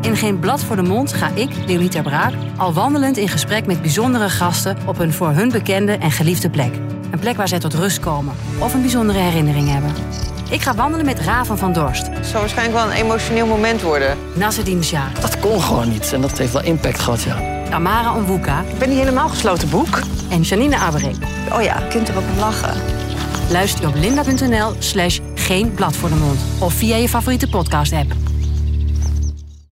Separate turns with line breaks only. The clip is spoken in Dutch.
In Geen Blad voor de Mond ga ik, Leonita Braak, al wandelend in gesprek met bijzondere gasten op een voor hun bekende en geliefde plek. Een plek waar zij tot rust komen of een bijzondere herinnering hebben. Ik ga wandelen met Raven van Dorst,
Het zou waarschijnlijk wel een emotioneel moment worden.
Nasreddin Shah,
Dat kon gewoon niet. En dat heeft wel impact gehad, ja.
Tamara Onwuka
Ik ben niet helemaal gesloten boek.
en Janine Aberek.
Oh ja, je kunt er ook om lachen.
Luister je op linda.nl slash geen blad voor de mond of via je favoriete podcast app.